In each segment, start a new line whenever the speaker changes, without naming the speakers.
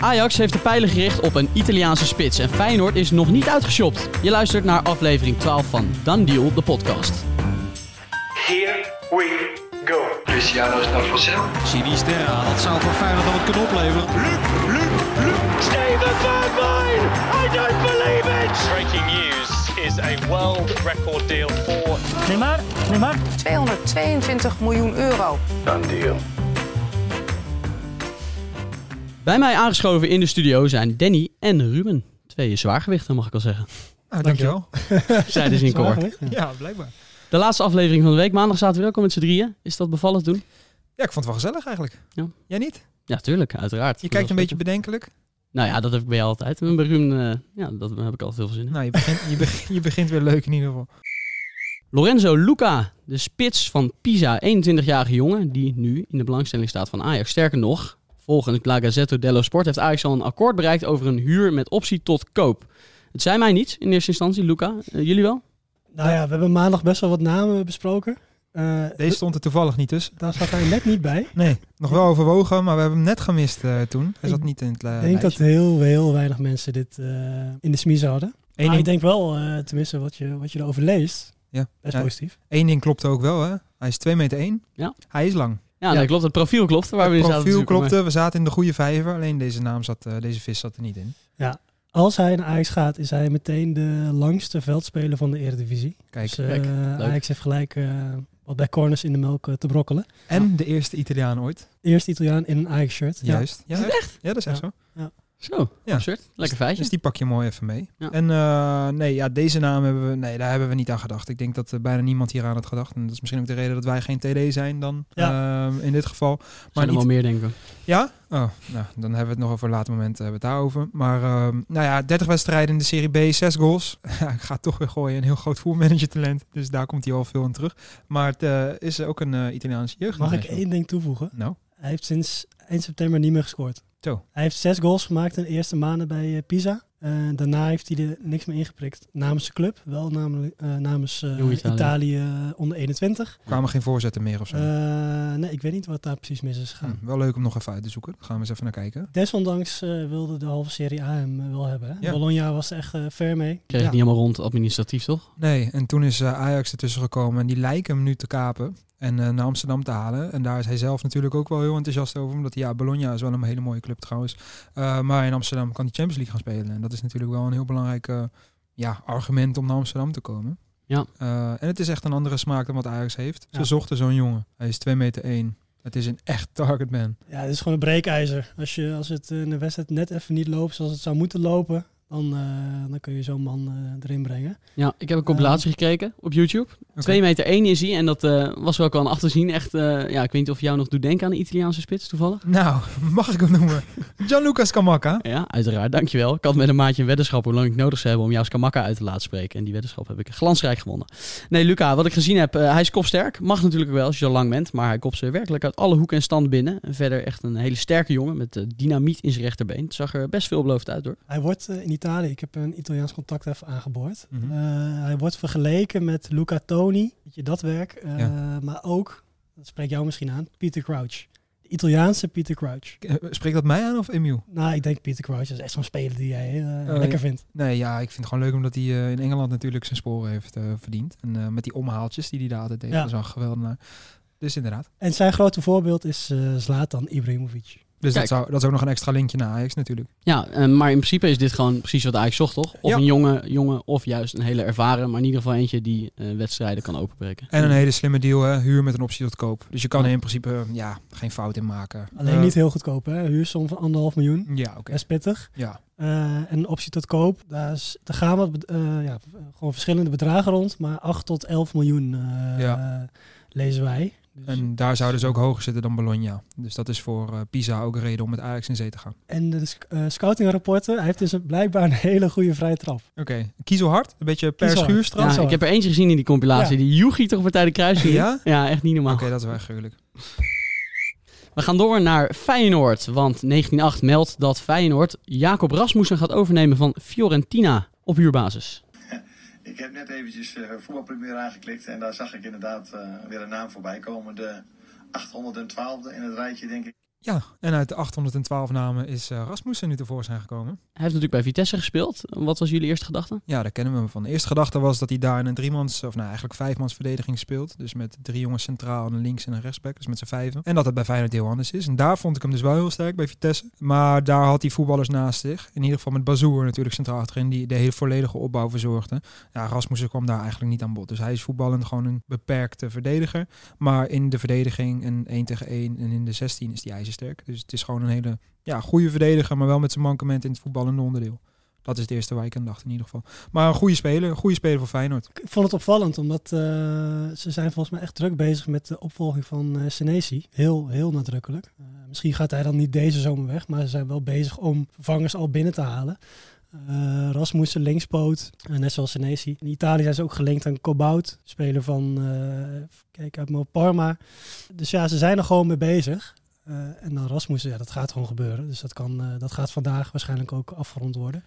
Ajax heeft de pijlen gericht op een Italiaanse spits en Feyenoord is nog niet uitgeshopt. Je luistert naar aflevering 12 van Dan Deal, de podcast.
Here we go. Luciano Stavrosel.
Sinisterra, dat zou voor Feyenoord dan wat kunnen opleveren.
Steven Bergwijn! I don't believe it!
Breaking news is a world record deal for
222 miljoen euro.
Bij mij aangeschoven in de studio zijn Danny en Ruben. Twee zwaargewichten, mag ik al zeggen.
Ah, dankjewel.
Zij dus in koor.
Ja, blijkbaar.
De laatste aflevering van de week, maandag zaten we weer ook al met z'n drieën. Is dat bevallen toen?
Ja, ik vond het wel gezellig eigenlijk.
Ja.
Jij niet?
Ja, tuurlijk, uiteraard.
Je kijkt een beetje bedenkelijk.
Nou ja, dat heb ik bij jou altijd. En bij Ruben, eh, ja, dat heb ik altijd heel veel zin in.
Nou, je begint, je, begint, je begint weer leuk in ieder geval.
Lorenzo Luca, de spits van Pisa, 21-jarige jongen die nu in de belangstelling staat van Ajax. Sterker nog, volgens La Gazzetto dello Sport heeft Ajax al een akkoord bereikt over een huur met optie tot koop. Het zei mij niets in eerste instantie, Luca. Eh, jullie wel?
Nou ja, we hebben maandag best wel wat namen besproken. Eh,
Deze stond er toevallig niet tussen.
Daar zat hij net niet bij.
Nee. Nog wel overwogen, maar we hebben hem net gemist eh, toen. Hij
Ik
zat niet in het eh,
ik denk dat
lijstje.
heel, heel weinig mensen dit eh, in de smiezen hadden.
Eén
maar ik
ding,
denk wel, eh, tenminste wat je, wat je erover leest,
Ja.
best
Ja.
positief.
één ding klopte ook wel, hè. Hij is 2 meter 1.
Ja.
Hij is lang.
Ja,
Ja.
dat klopt. Het profiel klopt. Waar we in
het
zaten te
profiel
zoeken, maar-
klopte, we zaten in de goede vijver. Alleen deze, naam zat, eh, deze vis zat er niet in.
Als hij naar Ajax gaat, is hij meteen de langste veldspeler van de Eredivisie.
Kijk.
dus eh,
kijk, leuk.
Ajax heeft gelijk eh, wat bij corners in de melk eh, te brokkelen.
En de eerste Italiaan ooit.
Eerst Italiaan in een Ajax-shirt. Ja.
Juist. Ja, echt? Ja, dat is echt
Ja.
zo.
Zo,
Ja.
absurd. Lekker feitje.
Dus die pak je mooi even mee.
Ja.
En eh, nee, ja, deze naam hebben we, nee, daar hebben we niet aan gedacht. Ik denk dat eh, bijna niemand hier aan had gedacht. En dat is misschien ook de reden dat wij geen TD zijn dan ehm, in dit geval.
maar
Maar
er wel
niet,
meer denken.
ja? Oh, nou, dan hebben we het nog over een later moment eh, hebben we het daarover. Maar ehm, nou ja, 30 wedstrijden in de Serie B, 6 goals. Ja, ik ga het toch weer gooien. Een heel groot voermanager talent. Dus daar komt hij al veel aan terug. Maar het eh, is ook een eh, Italiaanse jeugd.
Mag ik één ding toevoegen?
Nou,
Hij heeft sinds eind september niet meer gescoord.
Zo.
Hij heeft zes goals gemaakt in de eerste maanden bij eh, Pisa. Eh, daarna heeft hij er niks meer ingeprikt namens de club. Wel namelijk, eh, namens eh,
Jong Italië.
Italië. eh, onder 21.
kwamen geen voorzetten meer of zo.
Eh, nee, ik weet niet wat daar precies mis is gegaan.
Hm, wel leuk om nog even uit te zoeken. Daar gaan we eens even naar kijken.
Desondanks eh, wilde de halve Serie A hem eh, wel hebben. hè.
Ja.
Bologna was er echt eh, ver mee.
Kreeg
Ja.
het niet helemaal rond administratief, toch?
Nee, en toen is eh, Ajax ertussen gekomen en die lijken hem nu te kapen en eh, naar Amsterdam te halen. En daar is hij zelf natuurlijk ook wel heel enthousiast over, omdat ja, Bologna is wel een hele mooie club trouwens. Eh, maar in Amsterdam kan hij Champions League gaan spelen en dat is natuurlijk wel een heel belangrijk eh, ja, argument om naar Amsterdam te komen.
Ja.
Eh, en het is echt een andere smaak dan wat Ajax heeft. Ze
Ja.
zochten zo'n jongen. Hij is 2 meter 1. Het is een echt targetman.
Ja, het is gewoon een breekijzer. Als, je, als het eh, in de wedstrijd net even niet loopt zoals het zou moeten lopen, dan, eh, dan kun je zo'n man eh, erin brengen.
Ja, ik heb een compilatie gekeken op YouTube.
Oké.
2 meter 1 is hij en dat eh, was wel kan achterzien. Echt, eh, ja, ik weet niet of jou nog doet denken aan de Italiaanse spits toevallig.
Nou, mag ik hem noemen? Gianluca Scamacca.
Ja, uiteraard. Dankjewel. Ik had met een maatje een weddenschap hoe lang ik nodig zou hebben om jou Skamakka uit te laten spreken. En die weddenschap heb ik glansrijk gewonnen. Nee, Luca, wat ik gezien heb, eh, hij is kopsterk. Mag natuurlijk ook wel als je zo lang bent, maar hij kopt ze werkelijk uit alle hoeken en stand binnen. En verder echt een hele sterke jongen met eh, dynamiet in zijn rechterbeen. Het zag er best veelbelovend uit hoor.
Hij wordt eh, in Italië, ik heb een Italiaans contact even aangeboord.
Mhm.
Eh, hij wordt vergeleken met Luca Toni, weet je, dat werk. Eh, Maar ook, dat spreekt jou misschien aan, Peter Crouch. De Italiaanse Peter Crouch.
Eh, Spreekt dat mij aan of Emiel?
Nou, ik denk Peter Crouch dat is echt zo'n speler die jij eh,
Oh, ja.
lekker vindt.
Nee, ja, ik vind het gewoon leuk omdat hij eh, in Engeland natuurlijk zijn sporen heeft eh, verdiend. En eh, met die omhaaltjes die hij daar altijd deed,
Ja.
dat is wel geweldig. Dus inderdaad.
En zijn grote voorbeeld is eh, Zlatan Ibrahimovic.
Dus
Kijk.
dat, zou, dat is ook nog een extra linkje naar Ajax natuurlijk.
Ja, eh, maar in principe is dit gewoon precies wat Ajax zocht, toch? Of
Ja.
een jonge jongen, of juist een hele ervaren, maar in ieder geval eentje die eh, wedstrijden kan openbreken.
En een hele slimme deal, hè? huur met een optie tot koop. Dus je kan
Ja.
er in principe eh, ja, geen fout in maken.
Alleen
Eh,
niet heel goedkoop, hè? Huursom van anderhalf miljoen.
Ja, oké.
Best pittig.
Ja.
Eh, en optie tot koop, daar, is, daar gaan wat, bed- eh, ja, gewoon verschillende bedragen rond. Maar 8 tot 11 miljoen eh,
Ja.
lezen wij. Dus-
En daar zouden ze ook hoger zitten dan Bologna. Dus dat is voor eh, Pisa ook een reden om met Ajax in zee te gaan.
En de sc- eh, scoutingrapporten, hij heeft dus een- blijkbaar een hele goede vrije trap.
Oké, kiezelhard. Een beetje per
Kiezelhard.
schuurstraf.
Ja,
Transfer.
ik heb er eentje gezien in die compilatie.
Ja.
Die Yugi toch partij de kruis hier.
Ja?
ja, echt niet normaal.
Oké, dat is wel echt gruwelijk.
We gaan door naar Feyenoord, want 1908 meldt dat Feyenoord Jacob Rasmussen gaat overnemen van Fiorentina op huurbasis.
Ik heb net eventjes eh voetbalpremier aangeklikt en daar zag ik inderdaad eh, weer een naam voorbij komen. De 812e in het rijtje, denk ik.
Ja, en uit de 812 namen is eh, Rasmussen nu tevoorschijn gekomen.
Hij heeft natuurlijk bij Vitesse gespeeld. Wat was jullie eerste gedachte?
Ja, daar kennen we hem van. De eerste gedachte was dat hij daar in een driemans, of nou eigenlijk vijfmans verdediging speelt. Dus met drie jongens centraal, een links en een rechtsback, dus met z'n vijven. En dat het bij Feyenoord heel anders is. En daar vond ik hem dus wel heel sterk bij Vitesse. Maar daar had hij voetballers naast zich. In ieder geval met Bazoer natuurlijk centraal achterin, die de hele volledige opbouw verzorgde. Ja, Rasmussen kwam daar eigenlijk niet aan bod. Dus hij is voetballend gewoon een beperkte verdediger. Maar in de verdediging een 1 tegen 1 en in de 16 is die ijzersterk. Dus het is gewoon een hele ja, goede verdediger, maar wel met zijn mankement in het voetballende onderdeel. Dat is het eerste waar ik aan dacht in ieder geval. Maar een goede speler, een goede speler voor Feyenoord.
Ik vond het opvallend, omdat eh, ze zijn volgens mij echt druk bezig met de opvolging van eh Senesi. Heel, heel nadrukkelijk. Eh, misschien gaat hij dan niet deze zomer weg, maar ze zijn wel bezig om vervangers al binnen te halen. Eh Rasmussen, linkspoot, eh, net zoals Senesi. In Italië zijn ze ook gelinkt aan Cobout, speler van, eh, even kijken, uit Mo Parma. Dus ja, ze zijn er gewoon mee bezig. Eh, en dan Rasmussen, ja, dat gaat gewoon gebeuren. Dus dat, kan, eh, dat gaat vandaag waarschijnlijk ook afgerond worden.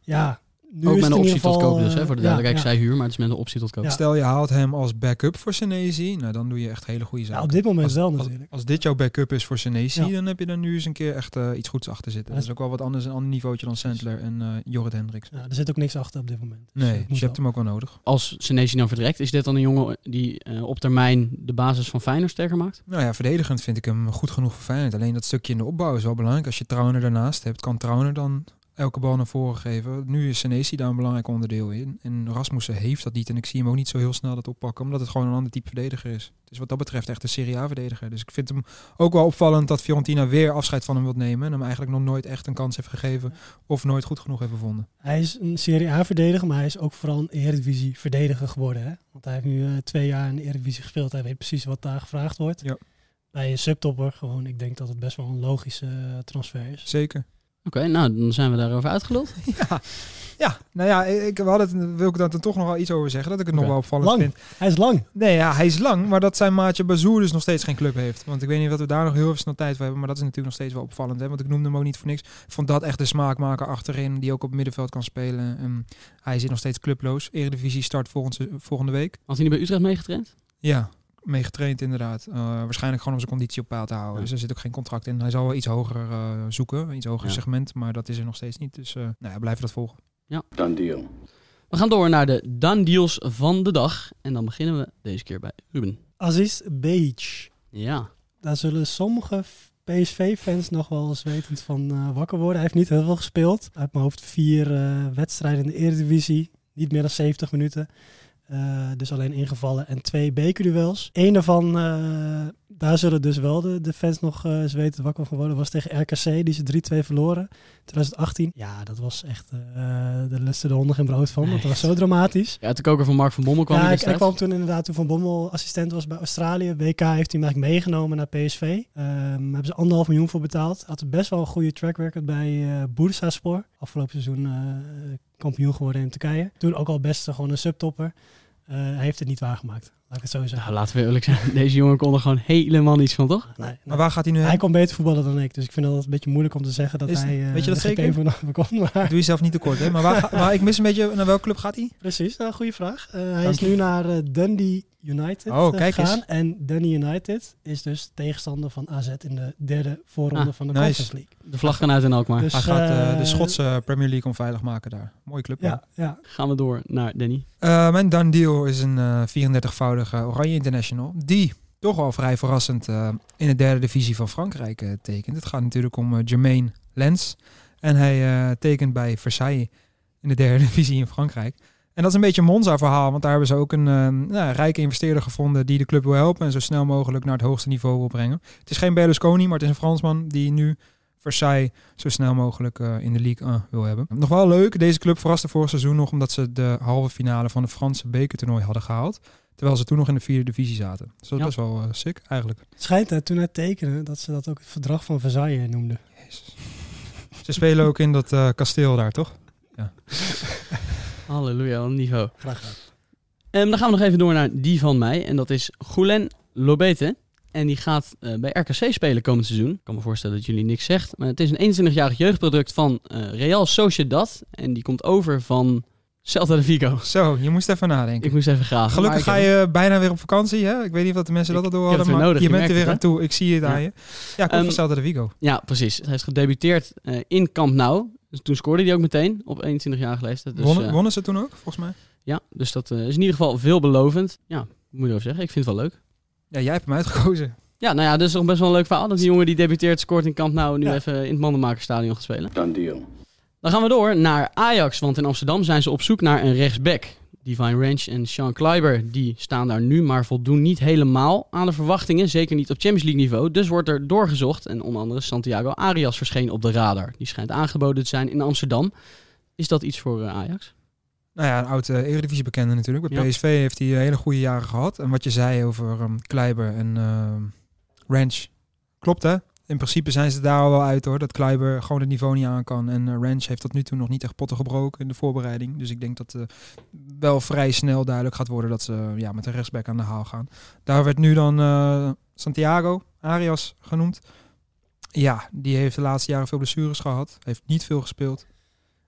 Ja, nu
ook
is
met
het
een
in
optie
ieder
tot
geval,
koop dus,
eh,
hè, voor de
ja,
duidelijkheid.
ja.
Ik zei huur, maar het is met een optie tot koop.
Ja.
Stel je haalt hem als backup voor Senesi, nou dan doe je echt hele goede
Ja,
zaken.
op dit moment wel
als,
natuurlijk.
als dit jouw backup is voor Senesi,
Ja.
dan heb je daar nu eens een keer echt eh, iets goeds achter zitten.
Ja,
Dat is ook wel wat anders, een ander niveautje dan Sandler en eh Jorrit Hendricks.
Ja, er zit ook niks achter op dit moment. Dus
Nee,
dat moet
dus je hebt
wel.
hem ook wel nodig.
Als Senesi nou vertrekt, is dit dan een jongen die eh, op termijn de basis van Feyenoord sterker maakt?
Nou ja, verdedigend vind ik hem goed genoeg voor Feyenoord. Alleen dat stukje in de opbouw is wel belangrijk. Als je Trauner daarnaast hebt, kan Trauner dan elke bal naar voren geven. Nu is Senesi daar een belangrijk onderdeel in. En Rasmussen heeft dat niet. En ik zie hem ook niet zo heel snel dat oppakken, omdat het gewoon een ander type verdediger is. Dus wat dat betreft echt een Serie A-verdediger. Dus ik vind hem ook wel opvallend dat Fiorentina weer afscheid van hem wilt nemen. En hem eigenlijk nog nooit echt een kans heeft gegeven of nooit goed genoeg heeft gevonden.
Hij is een Serie A-verdediger, maar hij is ook vooral een Eredivisie-verdediger geworden. Hè? Want hij heeft nu eh, twee jaar in de Eredivisie gespeeld. Hij weet precies wat daar gevraagd wordt.
Ja.
Bij een subtopper gewoon, ik denk dat het best wel een logische eh, transfer is.
Zeker.
Oké, nou dan zijn we daarover uitgeluld.
Ja, ja. nou ja, ik, we hadden het, wil ik daar dan toch nog wel iets over zeggen. Dat ik het nog
Oké.
wel opvallend vind.
Lang. Hij is lang.
Nee, ja, hij is lang, maar dat zijn maatje Bazoer dus nog steeds geen club heeft. Want ik weet niet of we daar nog heel even snel tijd voor hebben, maar dat is natuurlijk nog steeds wel opvallend. Hè? Want ik noemde hem ook niet voor niks. Ik vond dat echt de smaakmaker achterin, die ook op het middenveld kan spelen. Ehm, hij zit nog steeds clubloos. Eredivisie start volgend se- volgende week.
Had hij niet bij Utrecht meegetraind?
Ja, mee getraind inderdaad. Eh, waarschijnlijk gewoon om zijn conditie op peil te houden.
Ja.
Dus er zit ook geen contract in. Hij zal wel iets hoger eh, zoeken, een iets hoger
Ja.
segment, maar dat is er nog steeds niet. Dus eh nou ja, blijven dat volgen.
We gaan door naar de done deals van de dag. En dan beginnen we deze keer bij Ruben.
Aziz Beach.
Ja,
Daar zullen sommige f- PSV-fans nog wel eens wetend van eh, wakker worden. Hij heeft niet heel veel gespeeld. Uit mijn hoofd vier eh, wedstrijden in de Eredivisie. Niet meer dan 70 minuten. Eh, dus alleen ingevallen en twee bekerduels. Eén daarvan, eh, daar zullen dus wel de, de fans nog eh, eens weten wakker van worden, was tegen RKC, die ze 3-2 verloren. 2018. Ja, dat was echt eh de lusten de honden geen brood van. Dat was zo dramatisch
ja uit de koker van Mark van Bommel kwam
ja,
hij
ik, ik
destijds.
kwam toen inderdaad, toen Van Bommel assistent was bij Australië. WK heeft hij hem eigenlijk meegenomen naar PSV. Ehm, Daar hebben ze anderhalf miljoen voor betaald. Had best wel een goede track record bij eh Bursaspor. Afgelopen seizoen eh, kampioen geworden in Turkije. Toen ook al best eh, gewoon een subtopper. Eh, hij heeft het niet waargemaakt, laat ik het zo zeggen.
Nou, laten we eerlijk zijn. Deze jongen kon er gewoon helemaal niets van, toch?
Nee,
Maar
nee.
waar gaat hij nu
Hij
heen?
kon beter voetballen dan ik, dus ik vind dat een beetje moeilijk om te zeggen dat
Is-
hij... eh,
weet je dat
geen
zeker?
van overkomt, maar...
Doe jezelf niet tekort, hè? Maar, waar, maar ik mis een beetje, naar welke club gaat hij?
Precies, nou, goede vraag. Eh, hij
Dank
is
je.
nu naar eh, Dundee United
Oh,
eh,
kijk eens.
gegaan. En Dundee United is dus tegenstander van AZ in de derde voorronde
Ah,
van de
nice.
Conference League.
De vlag kan uit en ook maar.
Dus,
Hij gaat eh, de
eh,
Schotse Premier League onveilig maken daar. Mooie club. hè?
Ja, ja.
Gaan we door naar Danny.
Eh, mijn done deal is een eh, 34-voudige Oranje International. Die toch al vrij verrassend eh, in de derde divisie van Frankrijk eh, tekent. Het gaat natuurlijk om eh, Jermaine Lens. En hij eh, tekent bij Versailles in de derde divisie in Frankrijk. En dat is een beetje een Monza-verhaal, want daar hebben ze ook een eh, nou, rijke investeerder gevonden die de club wil helpen en zo snel mogelijk naar het hoogste niveau wil brengen. Het is geen Berlusconi, maar het is een Fransman die nu Versailles zo snel mogelijk eh, in de league eh, wil hebben. Nog wel leuk, deze club verraste vorig seizoen nog omdat ze de halve finale van het Franse bekertoernooi hadden gehaald. Terwijl ze toen nog in de vierde divisie zaten. Dus dat is
Ja.
best wel eh, sick eigenlijk.
Schijnt hè, toen hij tekende dat ze dat ook het verdrag van Versailles noemden.
Ze spelen ook in dat eh, kasteel daar, toch?
Halleluja, wat een niveau.
Graag gedaan.
Ehm, dan gaan we nog even door naar die van mij. En dat is Goulen Lobete. En die gaat eh, bij RKC spelen komend seizoen. Ik kan me voorstellen dat jullie niks zegt. Maar het is een 21-jarig jeugdproduct van eh, Real Sociedad. En die komt over van Celta de Vigo.
Zo, je moest even nadenken.
Ik moest even graag.
Gelukkig ga je bijna weer op vakantie. Hè? Ik weet niet of de mensen dat
Ik-
al door
ik heb
hadden,
het weer
maar
nodig,
je
je
bent er
merkt
weer
het,
aan toe. Ik zie het aan je. Ja, kom
Ehm,
van Celta de Vigo.
Ja, precies. Hij is gedebuteerd eh, in Camp Nou. Dus toen scoorde hij ook meteen op 21-jarige leeftijd. Dus,
wonnen,
eh,
wonnen ze toen ook, volgens mij?
ja, dus dat eh, is in ieder geval veelbelovend. Ja, moet je wel zeggen. Ik vind het wel leuk.
Ja, jij hebt hem uitgekozen.
Ja, nou ja, dat is toch best wel een leuk verhaal. Dat die jongen die debuteert, scoort in Camp Nou en nu
Ja.
even in het Mandenmakerstadion gaat spelen.
Dan deal.
Dan gaan we door naar Ajax, want in Amsterdam zijn ze op zoek naar een rechtsback. Divine Range en Sean Kleiber die staan daar nu, maar voldoen niet helemaal aan de verwachtingen. Zeker niet op Champions League niveau. Dus wordt er doorgezocht en onder andere Santiago Arias verscheen op de radar. Die schijnt aangeboden te zijn in Amsterdam. Is dat iets voor eh, Ajax?
Nou ja, een oud eh, Eredivisie-bekende natuurlijk. Bij
Ja.
PSV heeft hij eh, hele goede jaren gehad. En wat je zei over ehm, Kleiber en ehm Ranch, klopt hè? In principe zijn ze daar al wel uit hoor. Dat Kleiber gewoon het niveau niet aan kan. En eh, Ranch heeft tot nu toe nog niet echt potten gebroken in de voorbereiding. Dus ik denk dat eh, wel vrij snel duidelijk gaat worden dat ze eh, ja, met de rechtsback aan de haal gaan. Daar werd nu dan eh, Santiago Arias genoemd. Ja, die heeft de laatste jaren veel blessures gehad. Heeft niet veel gespeeld.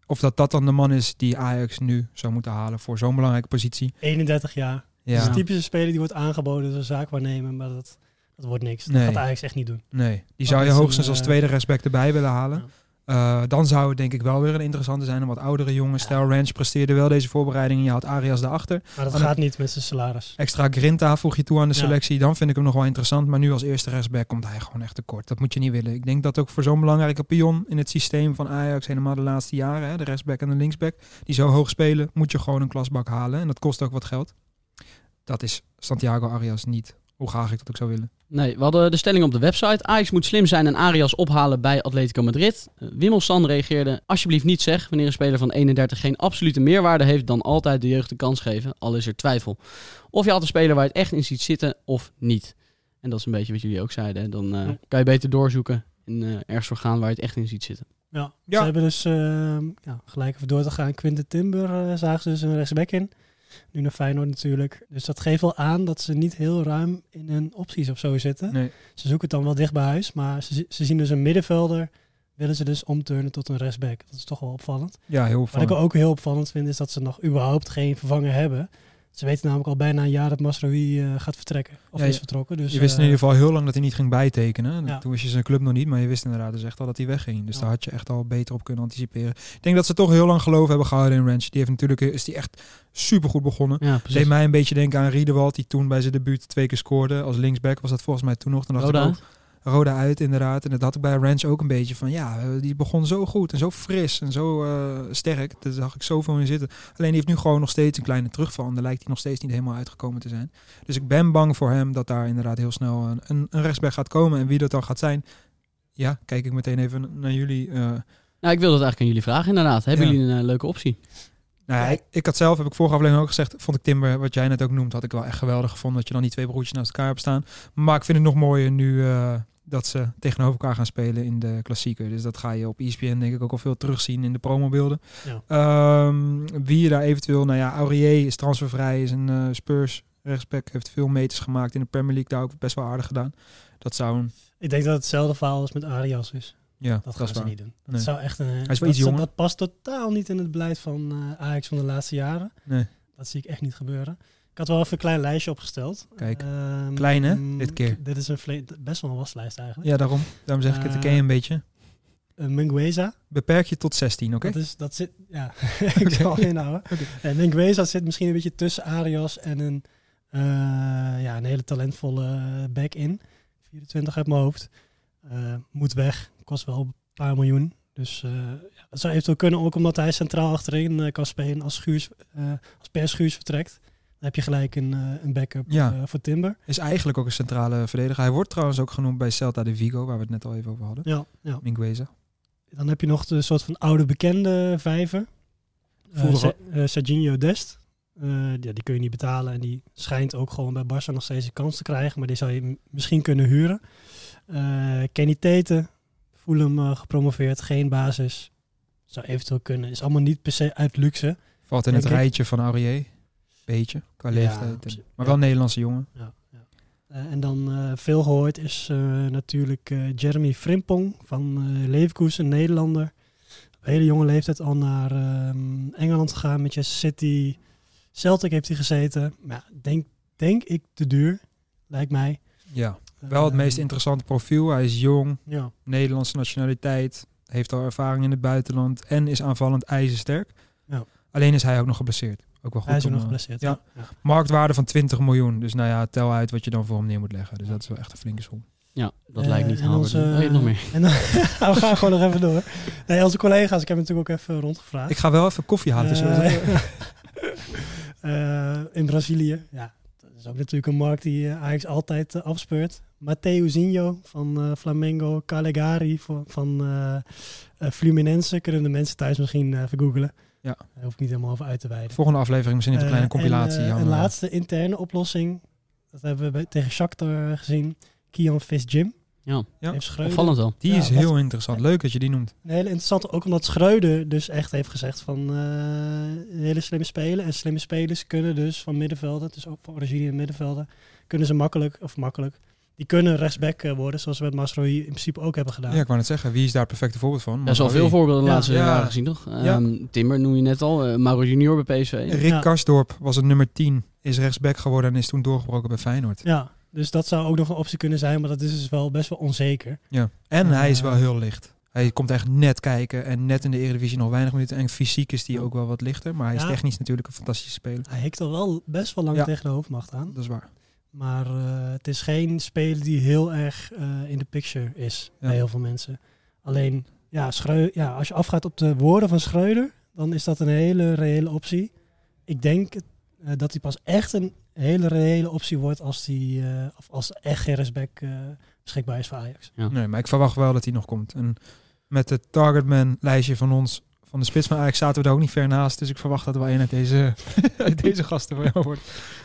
Of dat dat dan de man is die Ajax nu zou moeten halen voor zo'n belangrijke positie.
31 jaar.
Ja.
Dat is een typische speler die wordt aangeboden door een zaakwaarnemer, maar dat, dat wordt niks. Dat
Nee.
gaat Ajax echt niet doen.
Nee, die
Oh,
zou je
dat is
hoogstens
een,
als
eh,
tweede respect erbij willen halen.
Ja.
Eh, dan zou het denk ik wel weer een interessante zijn. Een wat oudere jongen. Stel, Ranch presteerde wel deze voorbereiding en je had Arias daarachter.
Maar dat
Maar
gaat niet met zijn salaris.
Extra Grinta voeg je toe aan de
Ja.
selectie. Dan vind ik hem nog wel interessant. Maar nu als eerste rechtsback komt hij gewoon echt tekort. Dat moet je niet willen. Ik denk dat ook voor zo'n belangrijke pion in het systeem van Ajax helemaal de laatste jaren. Hè, de rechtsback en de linksback. Die zo hoog spelen, moet je gewoon een klasbak halen. En dat kost ook wat geld. Dat is Santiago Arias niet. Hoe graag ik dat ook zou willen.
Nee, we hadden de stelling op de website. Ajax moet slim zijn en Arias ophalen bij Atletico Madrid. Eh, Wimmel San reageerde, alsjeblieft niet zeg. Wanneer een speler van 31 geen absolute meerwaarde heeft, dan altijd de jeugd de kans geven. Al is er twijfel. Of je haalt een speler waar je het echt in ziet zitten of niet. En dat is een beetje wat jullie ook zeiden. hè. Dan eh,
Ja.
kan je beter doorzoeken en eh, ergens voor gaan waar je het echt in ziet zitten.
Ja.
Ja.
Ze hebben dus, ehm, ja, gelijk even door te gaan, Quinten Timber eh, zagen ze dus een rechtsback in. Nu naar Feyenoord natuurlijk. Dus dat geeft wel aan dat ze niet heel ruim in hun opties of zo zitten.
Nee.
Ze zoeken het dan wel dicht bij huis, maar ze, ze zien dus een middenvelder. Willen ze dus omturnen tot een rechtsback. Dat is toch wel opvallend.
Ja, heel
Wat ik
opvallend.
ook heel opvallend vind, is dat ze nog überhaupt geen vervanger hebben. Ze weten namelijk al bijna een jaar dat Masroi eh, gaat vertrekken. Of
Ja,
is
je-
vertrokken. Dus,
je wist in
eh,
ieder geval heel lang dat hij niet ging bijtekenen.
Ja.
Toen wist je zijn club nog niet, maar je wist inderdaad dus echt al dat hij wegging. Dus
Ja.
daar had je echt al beter op kunnen anticiperen. Ik denk dat ze toch heel lang geloof hebben gehouden in Ranch. Die heeft natuurlijk eh, is die echt supergoed begonnen.
Ja,
Deed mij een beetje denken aan Riedewald, die toen bij zijn debuut twee keer scoorde. Als linksback was dat volgens mij toen nog. Dan dacht ik oh,
Roda.
ook, Roda uit inderdaad. En dat had ik bij Ranch ook een beetje van, ja, eh, die begon zo goed en zo fris en zo eh, sterk. Daar zag ik zoveel in zitten. Alleen die heeft nu gewoon nog steeds een kleine terugval. En daar lijkt hij nog steeds niet helemaal uitgekomen te zijn. Dus ik ben bang voor hem dat daar inderdaad heel snel een, een, een rechtsback gaat komen. En wie dat dan gaat zijn, ja, kijk ik meteen even naar jullie. eh. nou
Nou, ik wil dat eigenlijk aan jullie vragen inderdaad. Hebben
Ja.
jullie een eh, leuke optie?
ja, Nou, ik, ik had zelf, heb ik vorige aflevering ook gezegd, vond ik Timber, wat jij net ook noemt, had ik wel echt geweldig gevonden. Dat je dan die twee broertjes naast elkaar hebt staan. Maar ik vind het nog mooier nu eh, dat ze tegenover elkaar gaan spelen in de klassieker. Dus dat ga je op ESPN denk ik ook al veel terugzien in de promobeelden.
Ja.
Ehm, wie je daar eventueel, nou ja, Aurier is transfervrij, is een eh, Spurs rechtsback, heeft veel meters gemaakt in de Premier League, daar ook best wel aardig gedaan. Dat zou een,
eh, Ik denk dat het hetzelfde verhaal als met Arias is.
ja, dat,
Dat
is
gaan ze
waar.
niet doen. Dat
Nee.
zou echt een. Hij
iets jonger.
Dat past totaal niet in het beleid van eh, Ajax van de laatste jaren.
Nee.
Dat zie ik echt niet gebeuren. Ik had wel even een klein lijstje opgesteld.
Kijk,
Ehm,
klein, hè,
mm,
dit keer.
Dit is een vle- best wel een waslijst eigenlijk.
Ja, daarom. Daarom zeg ik het, ik ken je een beetje.
Eh, Mingueza,
Beperk je tot 16, oké?
dat, is, dat zit... Ja, ik zal
Oké.
inhouden. En Mingueza zit misschien een beetje tussen Arias en een, eh, ja, een hele talentvolle eh, back in. 24 uit mijn hoofd. Eh, moet weg. Kost wel een paar miljoen. Dus eh, ja, dat zou eventueel kunnen ook omdat hij centraal achterin eh, kan spelen als, Schuurs, eh, als Per Schuurs vertrekt. Dan heb je gelijk een, eh, een backup
Ja.
eh, voor Timber.
Is eigenlijk ook een centrale verdediger. Hij wordt trouwens ook genoemd bij Celta de Vigo, waar we het net al even over hadden.
Ja, ja.
Mingueza.
Dan heb je nog de soort van oude bekende vijver. Eh
Vroeger
Sa- eh, Serginho Dest. Eh, ja, die kun je niet betalen. En die schijnt ook gewoon bij Barça nog steeds een kans te krijgen. Maar die zou je m- misschien kunnen huren. Eh, Kenny Tete. Fulham eh, gepromoveerd. Geen basis. Zou eventueel kunnen. Is allemaal niet per se uit luxe.
Valt in het
Denk ik.
rijtje van Aurier. Beetje, qua
Ja,
leeftijd. en-
op zich,
maar
ja.
wel een Nederlandse jongen.
Ja, ja. Eh, en dan eh, veel gehoord is eh, natuurlijk eh, Jeremy Frimpong van eh Leverkusen, Nederlander. hele jonge leeftijd al naar ehm, Engeland gegaan. Met Manchester City. Celtic heeft hij gezeten. Maar ja, denk, denk ik te duur, lijkt mij.
Ja, wel het meest
Ehm,
interessante profiel. Hij is jong,
Ja.
Nederlandse nationaliteit, heeft al ervaring in het buitenland en is aanvallend ijzersterk.
Ja.
Alleen is hij ook nog geblesseerd. Ook wel goed.
Hij is ook
om,
nog
eh,
geblesseerd.
ja.
ja.
Marktwaarde van 20 miljoen. Dus nou ja, tel uit wat je dan voor hem neer moet leggen. Dus dat is wel echt een flinke som.
Ja, dat
Eh,
lijkt niet
en
haalbaar.
onze- eh,
Oh, je hebt nog meer.
En dan, Nou, we gaan gewoon nog even door. Nee, onze collega's, ik heb natuurlijk ook even rondgevraagd.
Ik ga wel even koffie halen. dus-
Eh, eh, in Brazilië, ja, dat is ook natuurlijk een markt die eh, Ajax altijd eh, afspeurt. Mateuzinho van eh, Flamengo, Calegari van, van eh, eh, Fluminense. Kunnen de mensen thuis misschien eh, even googelen.
Ja.
Daar hoef ik niet helemaal over uit te wijden.
Volgende aflevering misschien even een
Eh,
kleine compilatie.
En, eh,
hangen.
een laatste interne oplossing. Dat hebben we bij, tegen Shakhtar gezien. Kian Visjim.
Ja.
Ja.
Heeft Schreuder
Opvallend wel.
Die
Ja,
is
wat-
heel interessant. Leuk dat je die noemt.
Een hele interessante, ook omdat Schreuder dus echt heeft gezegd van eh, hele slimme spelen. En slimme spelers kunnen dus van middenvelden, dus ook van origine in middenvelden, kunnen ze makkelijk, of makkelijk, die kunnen rechtsback eh, worden, zoals we met Masroi in principe ook hebben
Ja.
gedaan.
ik wou net zeggen. Wie is daar het perfecte voorbeeld van?
Er is al veel
Maroui.
voorbeelden de
Ja.
laatste
Hm. Ja.
jaren gezien, toch?
Ja.
Ehm, Timber noem je net al. eh, Mauro Junior bij PSV.
Rick
Ja.
Karsdorp was het nummer 10. Is rechtsback geworden en is toen doorgebroken bij Feyenoord.
Ja, dus dat zou ook nog een optie kunnen zijn, maar dat is dus wel best wel onzeker.
Ja. En
Eh,
hij is wel heel licht. Hij komt echt net kijken en net in de Eredivisie nog weinig minuten. En fysiek is die ook wel wat lichter. Maar hij is
Ja.
technisch natuurlijk een fantastische speler.
Hij hikt al wel best wel lang
Ja.
tegen de hoofdmacht aan.
Dat is waar.
Maar eh, het is geen speler die heel erg eh, in de picture is
Ja.
bij heel veel mensen. Alleen, ja, Schreu ja, als je afgaat op de woorden van Schreuder, dan is dat een hele reële optie. Ik denk eh, dat hij pas echt een hele reële optie wordt als, die, eh, of als er echt geen respect eh, beschikbaar is voor Ajax.
Nee, maar ik verwacht wel dat hij nog komt. En met het targetman-lijstje van ons, van de spits van Ajax, zaten we daar ook niet ver naast. Dus ik verwacht dat er wel een uit deze, uit deze gasten voor jou wordt.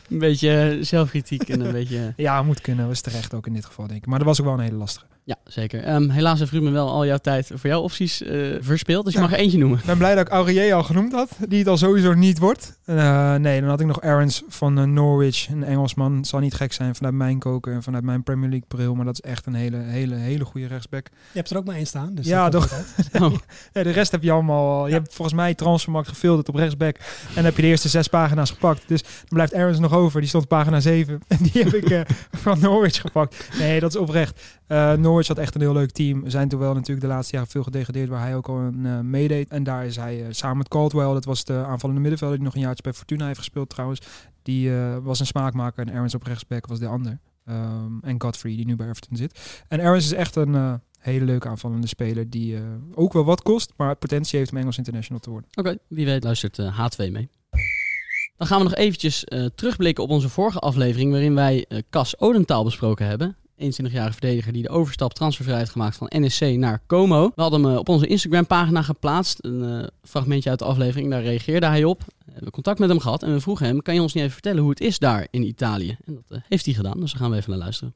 Een beetje eh, zelfkritiek en een beetje...
Ja, moet kunnen. Dat is terecht ook in dit geval, denk ik. Maar dat was ook wel een hele lastige.
Ja, zeker. Ehm, helaas heeft Ruben wel al jouw tijd voor jouw opties eh, verspeeld. Dus je mag er eentje noemen.
Ik ben blij dat ik Aurier al genoemd had, die het al sowieso niet wordt. Eh, nee, dan had ik nog Aarons van eh, Norwich, een Engelsman. Het zal niet gek zijn vanuit mijn koken en vanuit mijn Premier League bril. Maar dat is echt een hele, hele, hele goede rechtsback.
Je hebt er ook maar één staan. Dus
Ja,
dat komt
toch.
goed uit.
Oh,
Nee, Eh, de rest heb je allemaal. al. Je hebt volgens mij transfermarkt gefilterd op rechtsback. En heb je de eerste zes pagina's gepakt. Dus dan blijft Aarons nog over. Die stond op pagina 7. En die heb ik eh, van Norwich gepakt. Nee, dat is oprecht. Eh, Norwich had echt een heel leuk team. We zijn toen wel natuurlijk de laatste jaren veel gedegradeerd. Waar hij ook al een eh, meedeed. En daar is hij eh, samen met Caldwell. Dat was de aanvallende middenvelder. Die nog een jaartje bij Fortuna heeft gespeeld trouwens. Die eh, was een smaakmaker. En Aarons op rechtsback was de ander. Ehm, en Godfrey, die nu bij Everton zit. En Aarons is echt een eh, hele leuke aanvallende speler die eh, ook wel wat kost, maar potentie heeft om Engels international te worden.
Oké, wie weet luistert eh, H2 mee. Dan gaan we nog eventjes eh, terugblikken op onze vorige aflevering... waarin wij eh, Cas Odentaal besproken hebben. 21-jarige verdediger die de overstap transfervrij heeft gemaakt van NSC naar Como. We hadden hem eh, op onze Instagram-pagina geplaatst. Een eh, fragmentje uit de aflevering, daar reageerde hij op. We hebben contact met hem gehad en we vroegen hem... kan je ons niet even vertellen hoe het is daar in Italië? En dat eh, heeft hij gedaan, dus daar gaan we even naar luisteren.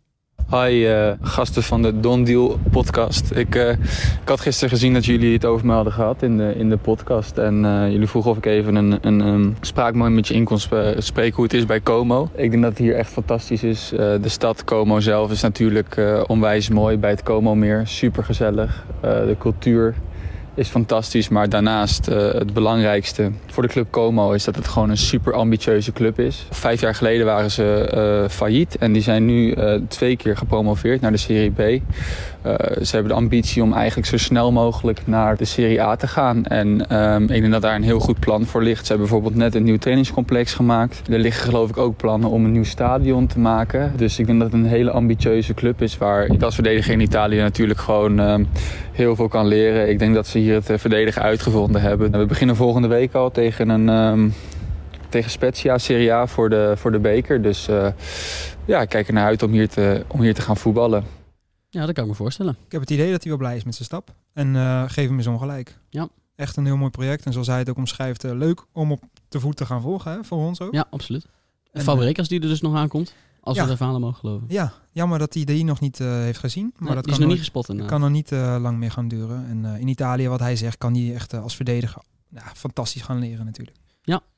Hi eh, gasten van de Don Deal podcast. Ik, eh, ik had gisteren gezien dat jullie het over me hadden gehad in de, in de podcast. En eh, jullie vroegen of ik even een, een, ehm, spraakmomentje in kon sp- eh, spreken hoe het is bij Como. Ik denk dat het hier echt fantastisch is. Eh, de stad Como zelf is natuurlijk eh, onwijs mooi bij het Como meer. Super gezellig. de cultuur is fantastisch. Maar daarnaast eh, het belangrijkste voor de club Como is dat het gewoon een super ambitieuze club is. Vijf jaar geleden waren ze eh, failliet en die zijn nu eh, twee keer gepromoveerd naar de Serie B. Eh, ze hebben de ambitie om eigenlijk zo snel mogelijk naar de Serie A te gaan. En ehm, ik denk dat daar een heel goed plan voor ligt. Ze hebben bijvoorbeeld net een nieuw trainingscomplex gemaakt. Er liggen geloof ik ook plannen om een nieuw stadion te maken. Dus ik denk dat het een hele ambitieuze club is waar ik als verdediger in Italië natuurlijk gewoon ehm, heel veel kan leren. Ik denk dat ze hier het eh, verdedigen uitgevonden hebben. We beginnen volgende week al tegen een ehm, tegen Spezia Serie A voor de, voor de beker. Dus eh, ja, ik kijk er naar uit om hier te, om hier te gaan voetballen.
Ja, dat kan ik me voorstellen.
Ik heb het idee dat hij wel blij is met zijn stap en eh, geef hem eens ongelijk.
Ja.
Echt een heel mooi project en zoals hij het ook omschrijft, eh, leuk om op de voet te gaan volgen hè, voor ons ook.
Ja, absoluut. En
En,
Fabregas die er dus nog aankomt. Als we
Ja.
de verhalen mogen geloven.
Ja, jammer dat hij die nog niet eh, heeft gezien, maar
Nee,
dat
die is nog
kan nog,
niet gespot inderdaad.
kan nog niet eh, lang meer gaan duren. En eh, in Italië, wat hij zegt, kan hij echt eh, als verdediger nou, fantastisch gaan leren natuurlijk.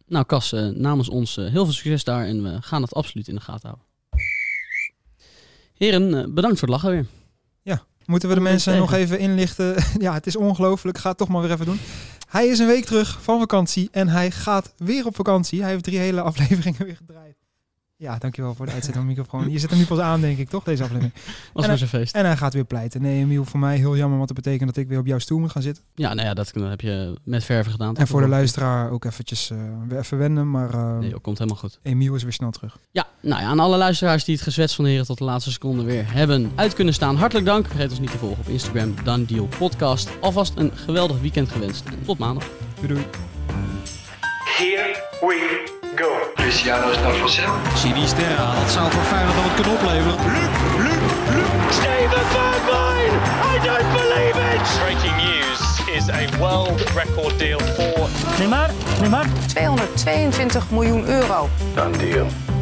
Nou, Cas, eh, namens ons eh, heel veel succes daar en we gaan het absoluut in de gaten houden. Heren, eh, bedankt voor het lachen weer.
Moeten we de
Kom er
mensen
eens
nog
tegen.
even inlichten? ja, het is ongelooflijk. Ga het toch maar weer even doen. Hij is een week terug van vakantie en hij gaat weer op vakantie. Hij heeft drie hele afleveringen weer gedraaid. Ja, dankjewel voor de uitzet van de microfoon. Je zit hem nu pas aan, denk ik, toch, deze aflevering?
Was
En eh,
maar zijn feest.
En hij gaat weer pleiten. Nee, Emiel, voor mij heel jammer, want dat betekent dat ik weer op jouw stoel moet gaan zitten.
Ja, nou ja, dat dat heb je met verven gedaan.
En voor de luisteraar ook eventjes eh, weer even wennen, maar eh,
Nee, joh, komt helemaal goed.
Emiel is weer snel terug.
Ja, nou ja, aan alle luisteraars die het gezwets van de heren tot de laatste seconde weer hebben uit kunnen staan. Hartelijk dank. Vergeet ons niet te volgen op Instagram, Dan Deal Podcast. Alvast een geweldig weekend gewenst. En tot maandag.
Doei doei.
Here we go. Cristiano Stavrosel.
Sinisterra, dat zou voor Feyenoord dan wat kunnen opleveren.
Steven Bergwijn! I don't believe it!
Breaking news is a world record deal for
222 miljoen euro.
Done deal.